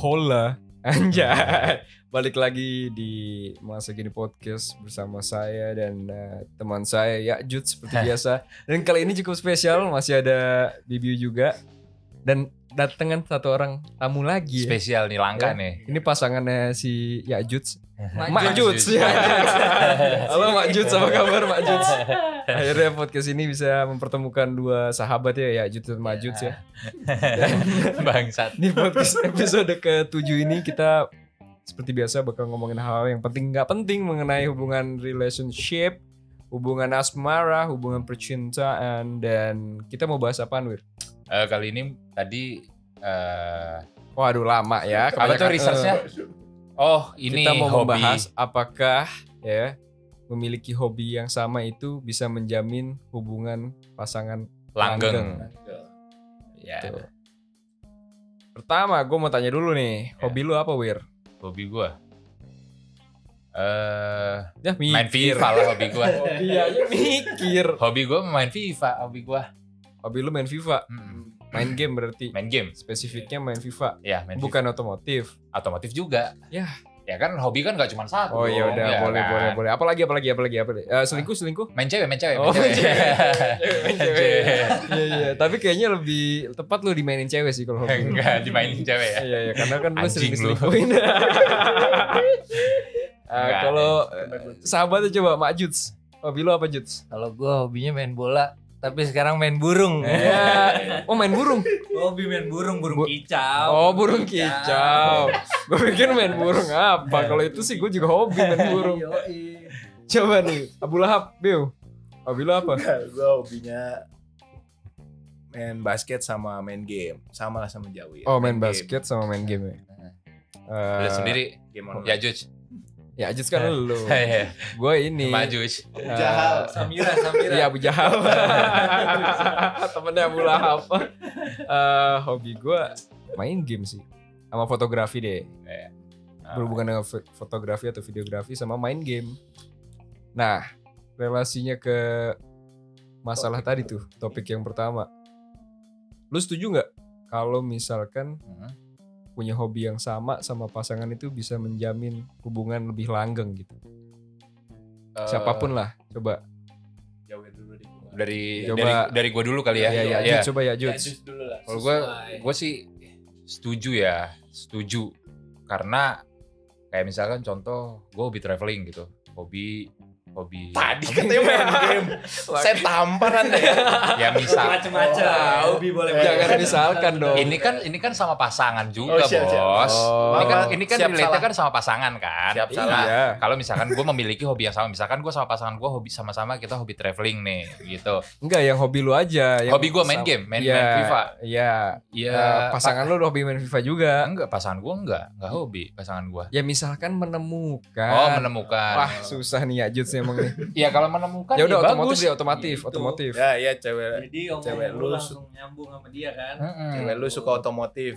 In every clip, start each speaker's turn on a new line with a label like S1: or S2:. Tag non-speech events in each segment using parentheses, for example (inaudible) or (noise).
S1: Hola. Anjay. (laughs) Balik lagi di Masukin Podcast bersama saya dan eh, teman saya Yakjud
S2: (laughs)
S1: seperti biasa. Dan kali ini cukup spesial, masih ada Bibiu juga. Dan datangan satu orang tamu lagi. ya.
S2: Spesial nih langka
S1: Ya.
S2: nih.
S1: Ini pasangannya si Ya Yakjud.
S2: Mak
S1: Makjud.
S2: (laughs) Juts.
S1: Ya. (laughs) Halo Makjud, apa kabar Makjud?
S2: (laughs)
S1: Akhirnya podcast ini bisa mempertemukan dua sahabat ya, Yakjud dan Makjud ya.
S2: Iya. (laughs) Bangsat.
S1: Di podcast episode ke-7 ini kita seperti biasa bakal ngomongin hal yang penting nggak penting mengenai hubungan relationship, hubungan asmara, hubungan percintaan dan kita mau bahas apa Wir?
S2: Eh, kali ini tadi eh
S1: Waduh lama ya.
S2: apa tuh
S1: kebanyakan-
S2: researchnya? Oh,
S1: Eh,
S2: eh, ini
S1: kita mau
S2: hobi.
S1: membahas apakah ya memiliki hobi yang sama itu bisa menjamin hubungan pasangan Nah,
S2: langgeng. Ya,
S1: Tuh. Pertama, gue mau tanya dulu
S2: Ya.
S1: nih, hobi lu apa Wir?
S2: hobi gua. Eh,
S1: Ya
S2: main
S1: mikir.
S2: FIFA lah hobi
S1: (laughs)
S2: gua.
S1: Hobi aja mikir.
S2: hobi gua main FIFA, hobi gua.
S1: Hobi lu main FIFA.
S2: Mm-mm.
S1: main game berarti
S2: Main game.
S1: spesifiknya main FIFA
S2: Ya, main
S1: bukan otomotif
S2: FIFA. otomotif juga.
S1: Ya.
S2: Ya kan hobi kan gak cuma satu.
S1: oh ya udah
S2: ya
S1: boleh
S2: kan?
S1: boleh boleh apalagi apalagi apalagi apalagi Eh, selingkuh
S2: (laughs)
S1: selingkuh
S2: Main cewek, main cewek,
S1: Oh,
S2: main cewek.
S1: Main cewek. iya iya tapi kayaknya lebih tepat lu dimainin cewek sih kalau hobi lu.
S2: (laughs) Enggak, dimainin cewek ya.
S1: iya iya karena kan lu sering
S2: Anjing lu. (laughs)
S1: diselingkuhin Ah,
S2: Enggak, iya.
S1: kalau eh, sahabatnya coba Mak Juts hobi lu apa Juts
S3: Kalau gue hobinya main bola, tapi sekarang main
S2: Iya.
S3: burung.
S4: Eh,
S1: Ya. oh main burung
S3: Hobi main burung, burung
S1: Bu-
S3: kicau.
S1: oh burung kicau gue pikir main burung
S2: Iya.
S1: apa kalau itu sih gue juga hobi main burung
S4: Yoi.
S1: coba nih Abu Lahab Bill hobi lu apa
S4: gue hobinya main basket sama main game. Sama lah sama Jawi.
S1: Oh main
S4: game.
S1: basket sama main game ya. Eh,
S2: Lu sendiri
S4: Game online.
S2: ya
S4: (laughs)
S2: Juj.
S1: Ya Ajis kan lu.
S2: Hehe.
S4: Iya,
S1: Gue ini.
S3: Iya.
S2: Sama Juj.
S1: eh,
S3: Samira, Samira.
S1: Iya Abu Jahal. (laughs) Temennya Abu Lahab. Eh, hobi gue main game sih. Sama fotografi deh.
S2: Iya.
S1: Berhubungan dengan fo- fotografi atau videografi sama main game. Nah relasinya ke masalah tadi tuh. Topik yang pertama. Lu setuju nggak kalau misalkan
S2: Hmm.
S1: punya hobi yang sama sama pasangan itu bisa menjamin hubungan lebih langgeng gitu.
S2: Eh,
S1: Siapapun lah, coba.
S4: Jawi dulu deh. gua.
S2: dari
S1: Coba-
S2: dari dari gua dulu kali ya.
S1: ya, ya, Jud,
S2: Iya.
S1: coba ya, Jud.
S4: Lanjut dulu lah.
S2: Kalau gue, gue sih setuju ya, setuju. Karena kayak misalkan contoh, gue hobi traveling gitu, hobi hobi.
S4: Tadi
S2: (laughs)
S4: katanya main game. Saya tampar anda ya.
S2: Ya misal,
S3: Macam-macam.
S4: Oh.
S3: hobi boleh.
S1: Jangan misalkan (laughs) dong.
S2: ini kan ini kan sama pasangan juga
S4: Oh, siap, siap.
S2: bos.
S1: Oh.
S2: Ini kan ini kan
S4: Siap,
S2: relate-nya
S4: salah.
S2: kan sama pasangan kan.
S4: Siap,
S2: Misalnya,
S1: Iya.
S2: Kalau misalkan gue memiliki hobi yang sama, misalkan gue sama pasangan gue hobi sama-sama kita hobi traveling nih, gitu.
S1: Enggak, yang hobi lu aja. Yang
S2: hobi gue main
S1: sama-
S2: game, main,
S1: Iya,
S2: main FIFA.
S1: Iya.
S2: Iya.
S1: Eh, pasangan lu udah hobi main FIFA juga.
S2: pa- enggak, pasangan gue enggak, enggak hobi pasangan gue.
S1: Ya misalkan menemukan.
S2: Oh menemukan.
S1: Ah. Wah susah nih ya Jud sih emang nih.
S2: Iya kalau menemukan
S1: ya udah
S2: ya
S1: otomotif
S2: bagus.
S1: deh, otomotif,
S3: Gitu.
S1: otomotif.
S4: Ya ya cewek.
S3: Jadi
S4: Cewek
S3: omongan lu
S4: lu
S3: langsung nyambung sama dia kan.
S2: Mm-mm.
S4: Cewek
S1: Hmm.
S4: lu suka otomotif.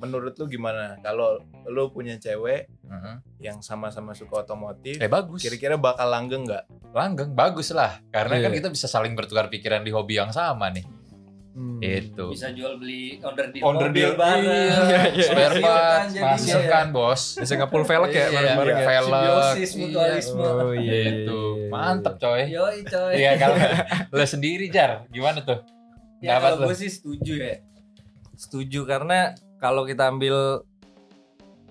S4: Menurut lu gimana? Kalau lu punya cewek
S2: Mm-mm.
S4: yang sama-sama suka otomotif,
S2: Eh bagus.
S4: kira-kira bakal langgeng nggak?
S2: Langgeng bagus lah. Karena
S1: Iya.
S2: kan kita bisa saling bertukar pikiran di hobi yang sama nih. Gitu.
S1: Hmm.
S2: Itu.
S3: Bisa jual beli order deal.
S1: Order
S3: mobil
S1: deal.
S3: bareng.
S1: Iya, iya.
S2: Spare
S3: Hasilkan
S2: part,
S3: jadinya. ya?
S2: menghasilkan bos.
S1: Bisa nge-pull velg ya
S2: Iya,
S1: bareng-bareng ya.
S2: velg.
S3: Simbiosis
S2: Iya.
S3: mutualisme.
S1: Oh iya.
S2: Gitu. Mantep coy.
S3: Yoi coy.
S2: Iya (laughs) kalau lo sendiri Jar, gimana tuh?
S3: Ya
S2: Pendapat
S3: kalau
S2: lu?
S3: gue sih setuju ya. Setuju karena kalau kita ambil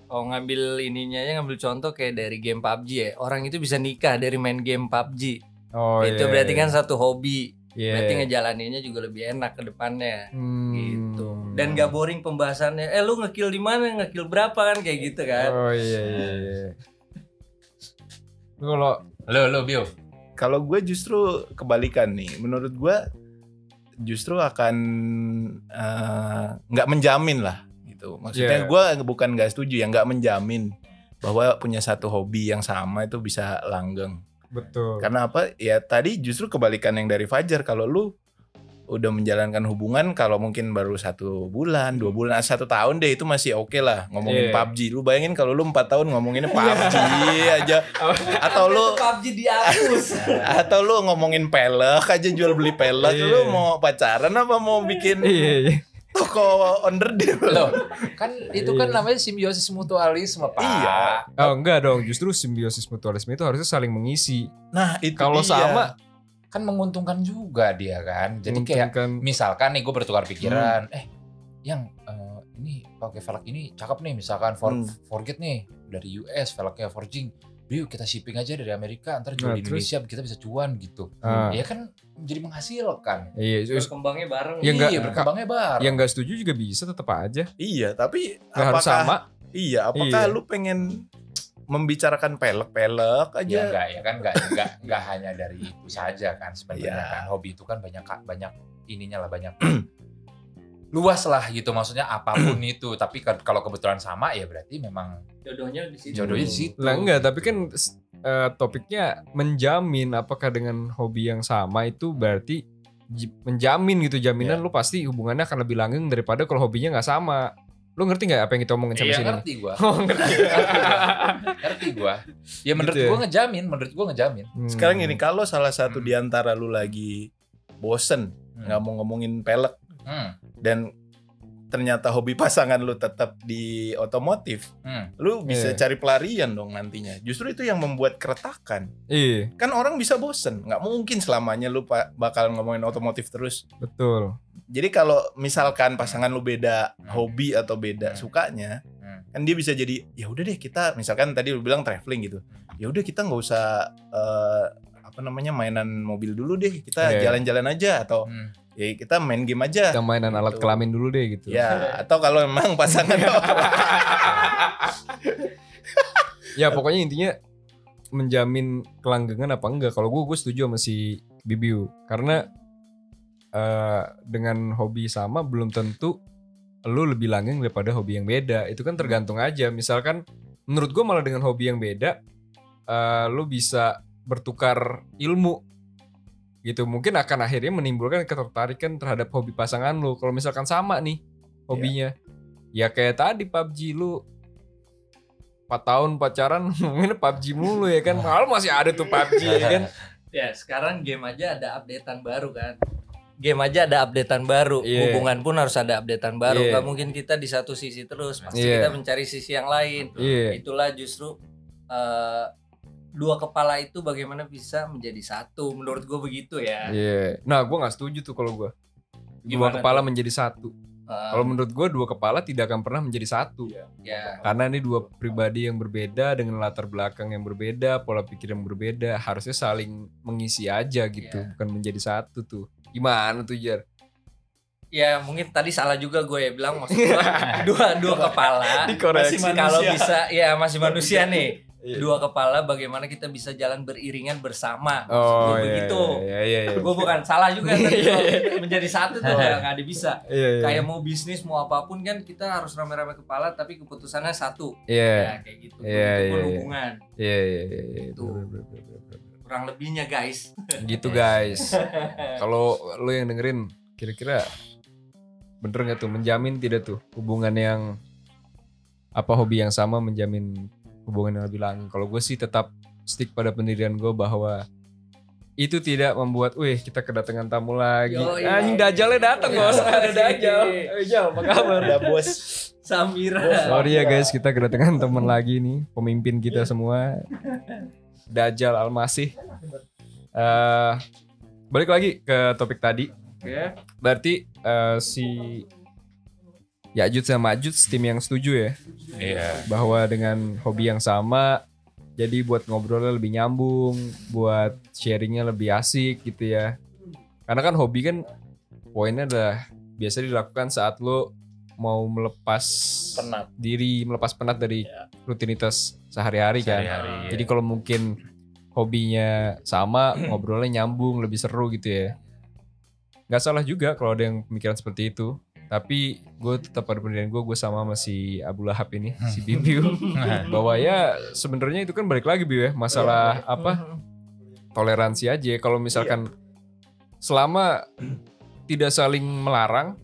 S3: oh ngambil ininya ya ngambil contoh kayak dari game PUBG ya. Orang itu bisa nikah dari main game PUBG.
S1: Oh
S3: itu
S1: iya,
S3: berarti
S1: iya.
S3: kan satu hobi.
S1: Iya.
S3: Berarti ngejalaninnya juga lebih enak ke depannya.
S1: Hmm. Oh, iya,
S3: Gitu. Dan gak boring pembahasannya. Eh lu ngekill di mana? Ngekill berapa kan kayak gitu kan.
S1: Oh iya iya. iya. Lu Kalau
S2: Lo lo Bio.
S4: Kalau gue justru kebalikan nih, menurut gue justru akan eh, nggak menjamin lah gitu. Maksudnya
S1: Yeah.
S4: gue bukan nggak setuju ya nggak menjamin bahwa punya satu hobi yang sama itu bisa langgeng.
S1: betul.
S2: Kan-
S4: Karena apa? Ya tadi justru kebalikan yang dari Fajar. Kalau lu udah menjalankan hubungan, kalau mungkin baru satu bulan, dua bulan, ah, satu tahun deh itu masih oke lah ngomongin
S1: Yeah.
S4: PUBG. Lu bayangin kalau lu empat tahun
S1: (laughs)
S4: ngomonginnya PUBG aja, atau lu
S3: Sampai PUBG dihapus.
S4: atau lu ngomongin pelek aja jual beli pelek
S1: Iya.
S4: lu mau pacaran apa mau bikin
S1: Iya iya.
S4: toko under deal. (laughs)
S2: Loh, kan itu
S1: Iya.
S2: kan namanya simbiosis mutualisme, Pak.
S4: Iya.
S1: Oh enggak dong, justru simbiosis mutualisme itu harusnya saling mengisi.
S4: Nah, itu
S1: Kalau
S4: dia.
S1: sama,
S2: Kan menguntungkan juga dia kan. Jadi kayak
S1: menguntungkan.
S2: misalkan nih gue bertukar
S1: Hmm.
S2: pikiran, eh yang eh, ini pakai velg ini cakep nih misalkan for,
S4: Hmm.
S2: forget nih dari US velgnya forging. Yuk kita shipping aja dari Amerika, ntar jual
S1: Nah,
S2: di
S1: terus?
S2: Indonesia kita bisa cuan gitu.
S1: Ah,
S2: Ya kan jadi menghasilkan.
S1: iya, (laughs) terus
S3: Berkembangnya bareng.
S1: Ya enggak-
S2: iya, berkembangnya bareng.
S1: yang enggak setuju juga bisa tetap aja.
S4: Iya, tapi
S1: Enggak harus sama.
S4: Iya,
S1: Iya.
S4: apakah lu pengen membicarakan pelek-pelek aja?
S2: Ya
S1: Iya,
S2: enggak ya kan enggak enggak enggak hanya dari itu saja kan sebenarnya
S4: Iya.
S2: kan hobi itu kan banyak banyak ininya lah banyak (clears throat) luas lah gitu maksudnya
S1: (clears throat)
S2: apapun itu tapi ke- kalau kebetulan sama ya berarti memang
S3: Jodohnya di situ.
S2: jodohnya di situ.
S1: Lah enggak,
S2: gitu.
S1: tapi kan s- eh, topiknya menjamin apakah dengan hobi yang sama itu berarti j- menjamin gitu jaminan
S2: Iya.
S1: lu pasti hubungannya akan lebih langgeng daripada kalau hobinya nggak sama. Lu ngerti nggak apa yang kita omongin sampai
S2: Iya
S1: sini?
S2: ngerti
S1: (laughs)
S2: gua.
S1: Oh,
S2: (laughs)
S1: ngerti.
S2: ngerti gua. Ya menurut
S1: Gitu ya?
S2: gua ngejamin, menurut gua ngejamin.
S1: Hmm.
S4: Sekarang gini, kalau salah satu
S2: Hmm.
S4: di antara lu lagi bosen,
S2: Hmm.
S4: nggak mau ngomongin pelek
S2: Hmm.
S4: dan ternyata hobi pasangan lu tetap di otomotif,
S2: Hmm.
S4: lu bisa
S1: Iya.
S4: cari pelarian dong nantinya. Justru itu yang membuat keretakan.
S1: Iya,
S4: Kan orang bisa bosen, nggak mungkin selamanya lu pa- bakal ngomongin otomotif terus.
S1: betul.
S4: Jadi kalau misalkan pasangan lu beda
S2: Hmm.
S4: hobi atau beda
S2: Hmm.
S4: sukanya,
S2: Hmm.
S4: kan dia bisa jadi ya udah deh kita misalkan tadi lu bilang traveling gitu ya udah kita nggak usah eh, apa namanya mainan mobil dulu deh kita
S1: Iya.
S4: jalan-jalan aja atau
S2: Hmm.
S4: ya kita main game aja
S1: Kita mainan alat
S4: Gitu.
S1: kelamin dulu deh gitu.
S2: Iya.
S4: ya atau kalau memang
S1: (laughs)
S4: pasangan
S1: Ya pokoknya intinya menjamin kelanggengan apa enggak. Kalau gue gue setuju sama si Bibiu karena eh, dengan hobi sama belum tentu lu lebih langgeng daripada hobi yang beda. Itu kan tergantung aja. Misalkan menurut gue malah dengan hobi yang beda eh, lu bisa bertukar ilmu gitu. Mungkin akan akhirnya menimbulkan ketertarikan terhadap hobi pasangan lu. Kalau misalkan sama nih hobinya. Ya kayak tadi PUBG lu 4 tahun pacaran (laughs) ngomongin PUBG mulu ya kan. Kalau masih ada tuh PUBG
S4: Iya,
S1: ya
S2: (laughs)
S1: kan.
S3: Ya sekarang game aja ada updatean baru kan. Game aja ada updatean baru.
S1: Iya.
S3: Hubungan pun harus ada updatean baru.
S1: Iya.
S3: Gak mungkin kita di satu sisi terus. Pasti
S1: Iya.
S3: kita mencari sisi yang lain.
S1: Iya.
S3: Itulah justru eh, dua kepala itu bagaimana bisa menjadi satu. Menurut gue begitu ya.
S1: Iya. Nah, gua nggak setuju tuh kalau gua. Dua
S3: Gimana
S1: kepala menjadi satu.
S3: Eh,
S1: Kalau menurut gua dua kepala tidak akan pernah menjadi satu.
S3: ya
S1: Karena ini dua pribadi yang berbeda dengan latar belakang yang berbeda, pola pikir yang berbeda, harusnya saling mengisi aja gitu,
S3: Iya.
S1: bukan menjadi satu tuh. Gimana tuh Jar?
S3: ya mungkin tadi salah juga gue ya bilang maksud gue
S1: (laughs)
S3: dua dua kepala
S4: Dikoreksi. Masih
S3: kalau
S4: manusia.
S3: bisa ya masih manusia nih
S1: Iya.
S3: dua kepala bagaimana kita bisa jalan beriringan bersama
S1: Oh,
S3: Maksud gue
S1: iya,
S3: begitu
S1: Iya, iya, iya.
S3: gue bukan salah
S1: (laughs)
S3: juga tadi soal menjadi satu tuh nggak ada bisa
S1: Iya, iya.
S3: kayak mau bisnis mau apapun kan kita harus rame-rame kepala tapi keputusannya satu
S1: Iya,
S3: ya kayak gitu
S1: Iya,
S3: Begitu pun
S1: iya, iya.
S3: hubungan
S1: iya, iya, iya, iya.
S3: Tuh. kurang lebihnya guys
S1: gitu guys
S3: Iya. (laughs)
S1: kalau lo yang dengerin kira-kira bener nggak tuh menjamin tidak tuh hubungan yang apa hobi yang sama menjamin hubungan yang lebih langgeng kalau gue sih tetap stick pada pendirian gue bahwa itu tidak membuat wih kita kedatangan tamu lagi
S3: Yoi. Iya.
S1: anjing dajalnya datang bos
S3: (laughs)
S1: ada dajal Eh, Jal, apa kabar
S4: udah bos
S3: Samira
S1: Sorry ya guys, kita kedatangan teman lagi nih, pemimpin kita semua. Dajjal Almasih. Eh balik lagi ke topik tadi.
S3: Oke.
S1: Berarti eh, si Yajud sama Majud tim yang setuju ya
S2: Iya.
S1: bahwa dengan hobi yang sama jadi buat ngobrolnya lebih nyambung, buat sharingnya lebih asik gitu ya. Karena kan hobi kan poinnya adalah biasa dilakukan saat lo mau melepas
S4: Penat.
S1: Iya, diri, melepas penat dari
S4: Ya.
S1: rutinitas sehari-hari kan.
S2: Sehari-hari, iya.
S1: Jadi kalau mungkin hobinya sama, ngobrolnya nyambung, lebih seru gitu ya. Nggak salah juga kalau ada yang pemikiran seperti itu. Tapi gue tetap pada pendirian gue, gue sama sama si Abu Lahab ini, si Bibiu. Bahwa ya sebenarnya itu kan balik lagi Biu ya, masalah apa toleransi aja. Kalau misalkan selama tidak saling melarang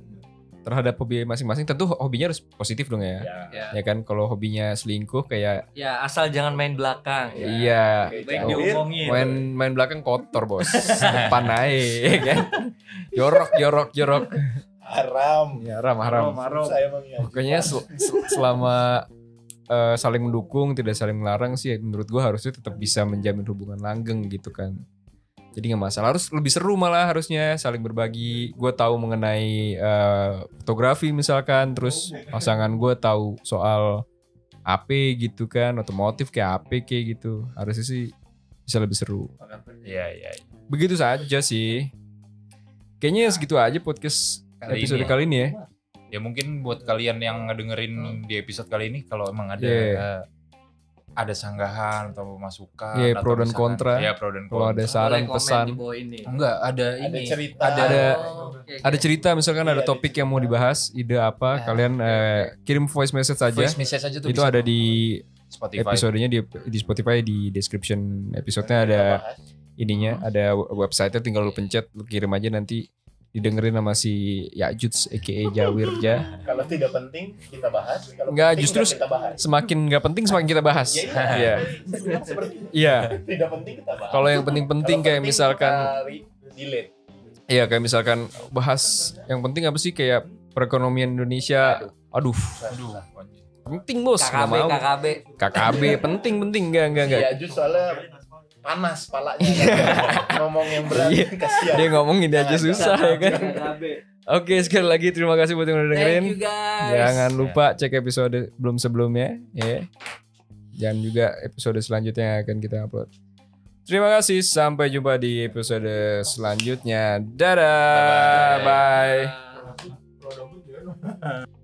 S1: terhadap hobi masing-masing, tentu hobinya harus positif dong ya.
S4: Iya.
S2: Iya.
S3: ya,
S1: Ya kan kalau hobinya selingkuh kayak
S3: (laughs) ya asal jangan main belakang
S1: iya
S3: baik
S1: Jauhin. Iya.
S3: diomongin
S1: main main belakang kotor bos depan naik kan ya jorok jorok jorok
S4: haram ya.
S1: Ya, haram, haram.
S4: saya emangnya
S1: Pokoknya ya, sel- sel- selama eh, saling mendukung, tidak saling melarang sih menurut gua harusnya tetap bisa menjamin hubungan langgeng gitu kan. Jadi nggak masalah, harus lebih seru malah harusnya saling berbagi. Gua tahu mengenai eh, fotografi misalkan, terus pasangan gua tahu soal AP gitu kan, otomotif kayak AP kayak gitu. Harusnya sih bisa lebih seru.
S2: Iya, iya.
S1: Begitu saja sih. Kayaknya segitu aja podcast
S2: Kali
S1: episode
S2: ini ya.
S1: kali ini ya.
S2: Ya mungkin buat kalian yang
S4: Hmm.
S2: ngedengerin di episode kali ini kalau emang ada eh,
S1: Yeah.
S2: ada sanggahan atau masukan
S1: Yeah,
S2: atau
S1: pro dan
S2: misalkan-
S1: kontra.
S2: Iya, pro dan
S1: Kalau ada
S2: kontra.
S1: saran
S3: Boleh komen
S1: pesan,
S3: di bawah ini.
S2: Enggak, ada ini.
S4: ada cerita
S2: Ada
S3: Oh, oke, oke.
S1: ada cerita misalkan
S4: Iya,
S1: ada
S4: ada
S1: topik
S4: cerita.
S1: yang mau dibahas, ide apa,
S2: Ya,
S1: kalian eh, kirim voice message aja.
S2: voice message aja tuh
S1: Itu
S2: bisa.
S1: ada di
S2: Spotify.
S1: episodenya di, di Spotify di description
S4: Iya,
S1: episode-nya ada ininya, ada website-nya tinggal lu pencet, lu kirim aja nanti didengerin sama si Yajuts aka Jawirja.
S4: kalau tidak penting kita bahas kalau
S1: Nggak,
S4: penting
S1: justru-
S4: nggak kita bahas
S1: Semakin nggak penting semakin kita bahas.
S4: Iya,
S1: Iya.
S4: Sekarang seperti itu.
S1: Iya.
S4: tidak penting kita bahas
S1: Kalau yang penting-penting kayak misalkan
S4: delete
S1: Iya kayak misalkan bahas yang penting apa sih kayak perekonomian Indonesia. Aduh,
S2: Aduh.
S4: Iya,
S1: Iya, penting bos nggak
S3: KKB,
S1: mau.
S3: KKB. (laughs)
S1: KKB penting penting enggak enggak enggak.
S4: Iya, justru soalnya panas palanya
S1: (laughs)
S4: ngomong yang berat
S1: Iya.
S4: kasihan
S1: Dia ngomongin aja
S4: Jangan,
S1: susah ya kan.
S3: KKB.
S1: Oke sekali lagi terima kasih buat yang udah dengerin.
S3: Thank you guys. Iya.
S1: Jangan lupa cek episode belum sebelumnya ya. Dan juga episode selanjutnya yang akan kita upload. Terima kasih sampai jumpa di episode selanjutnya. Dadah. Bye.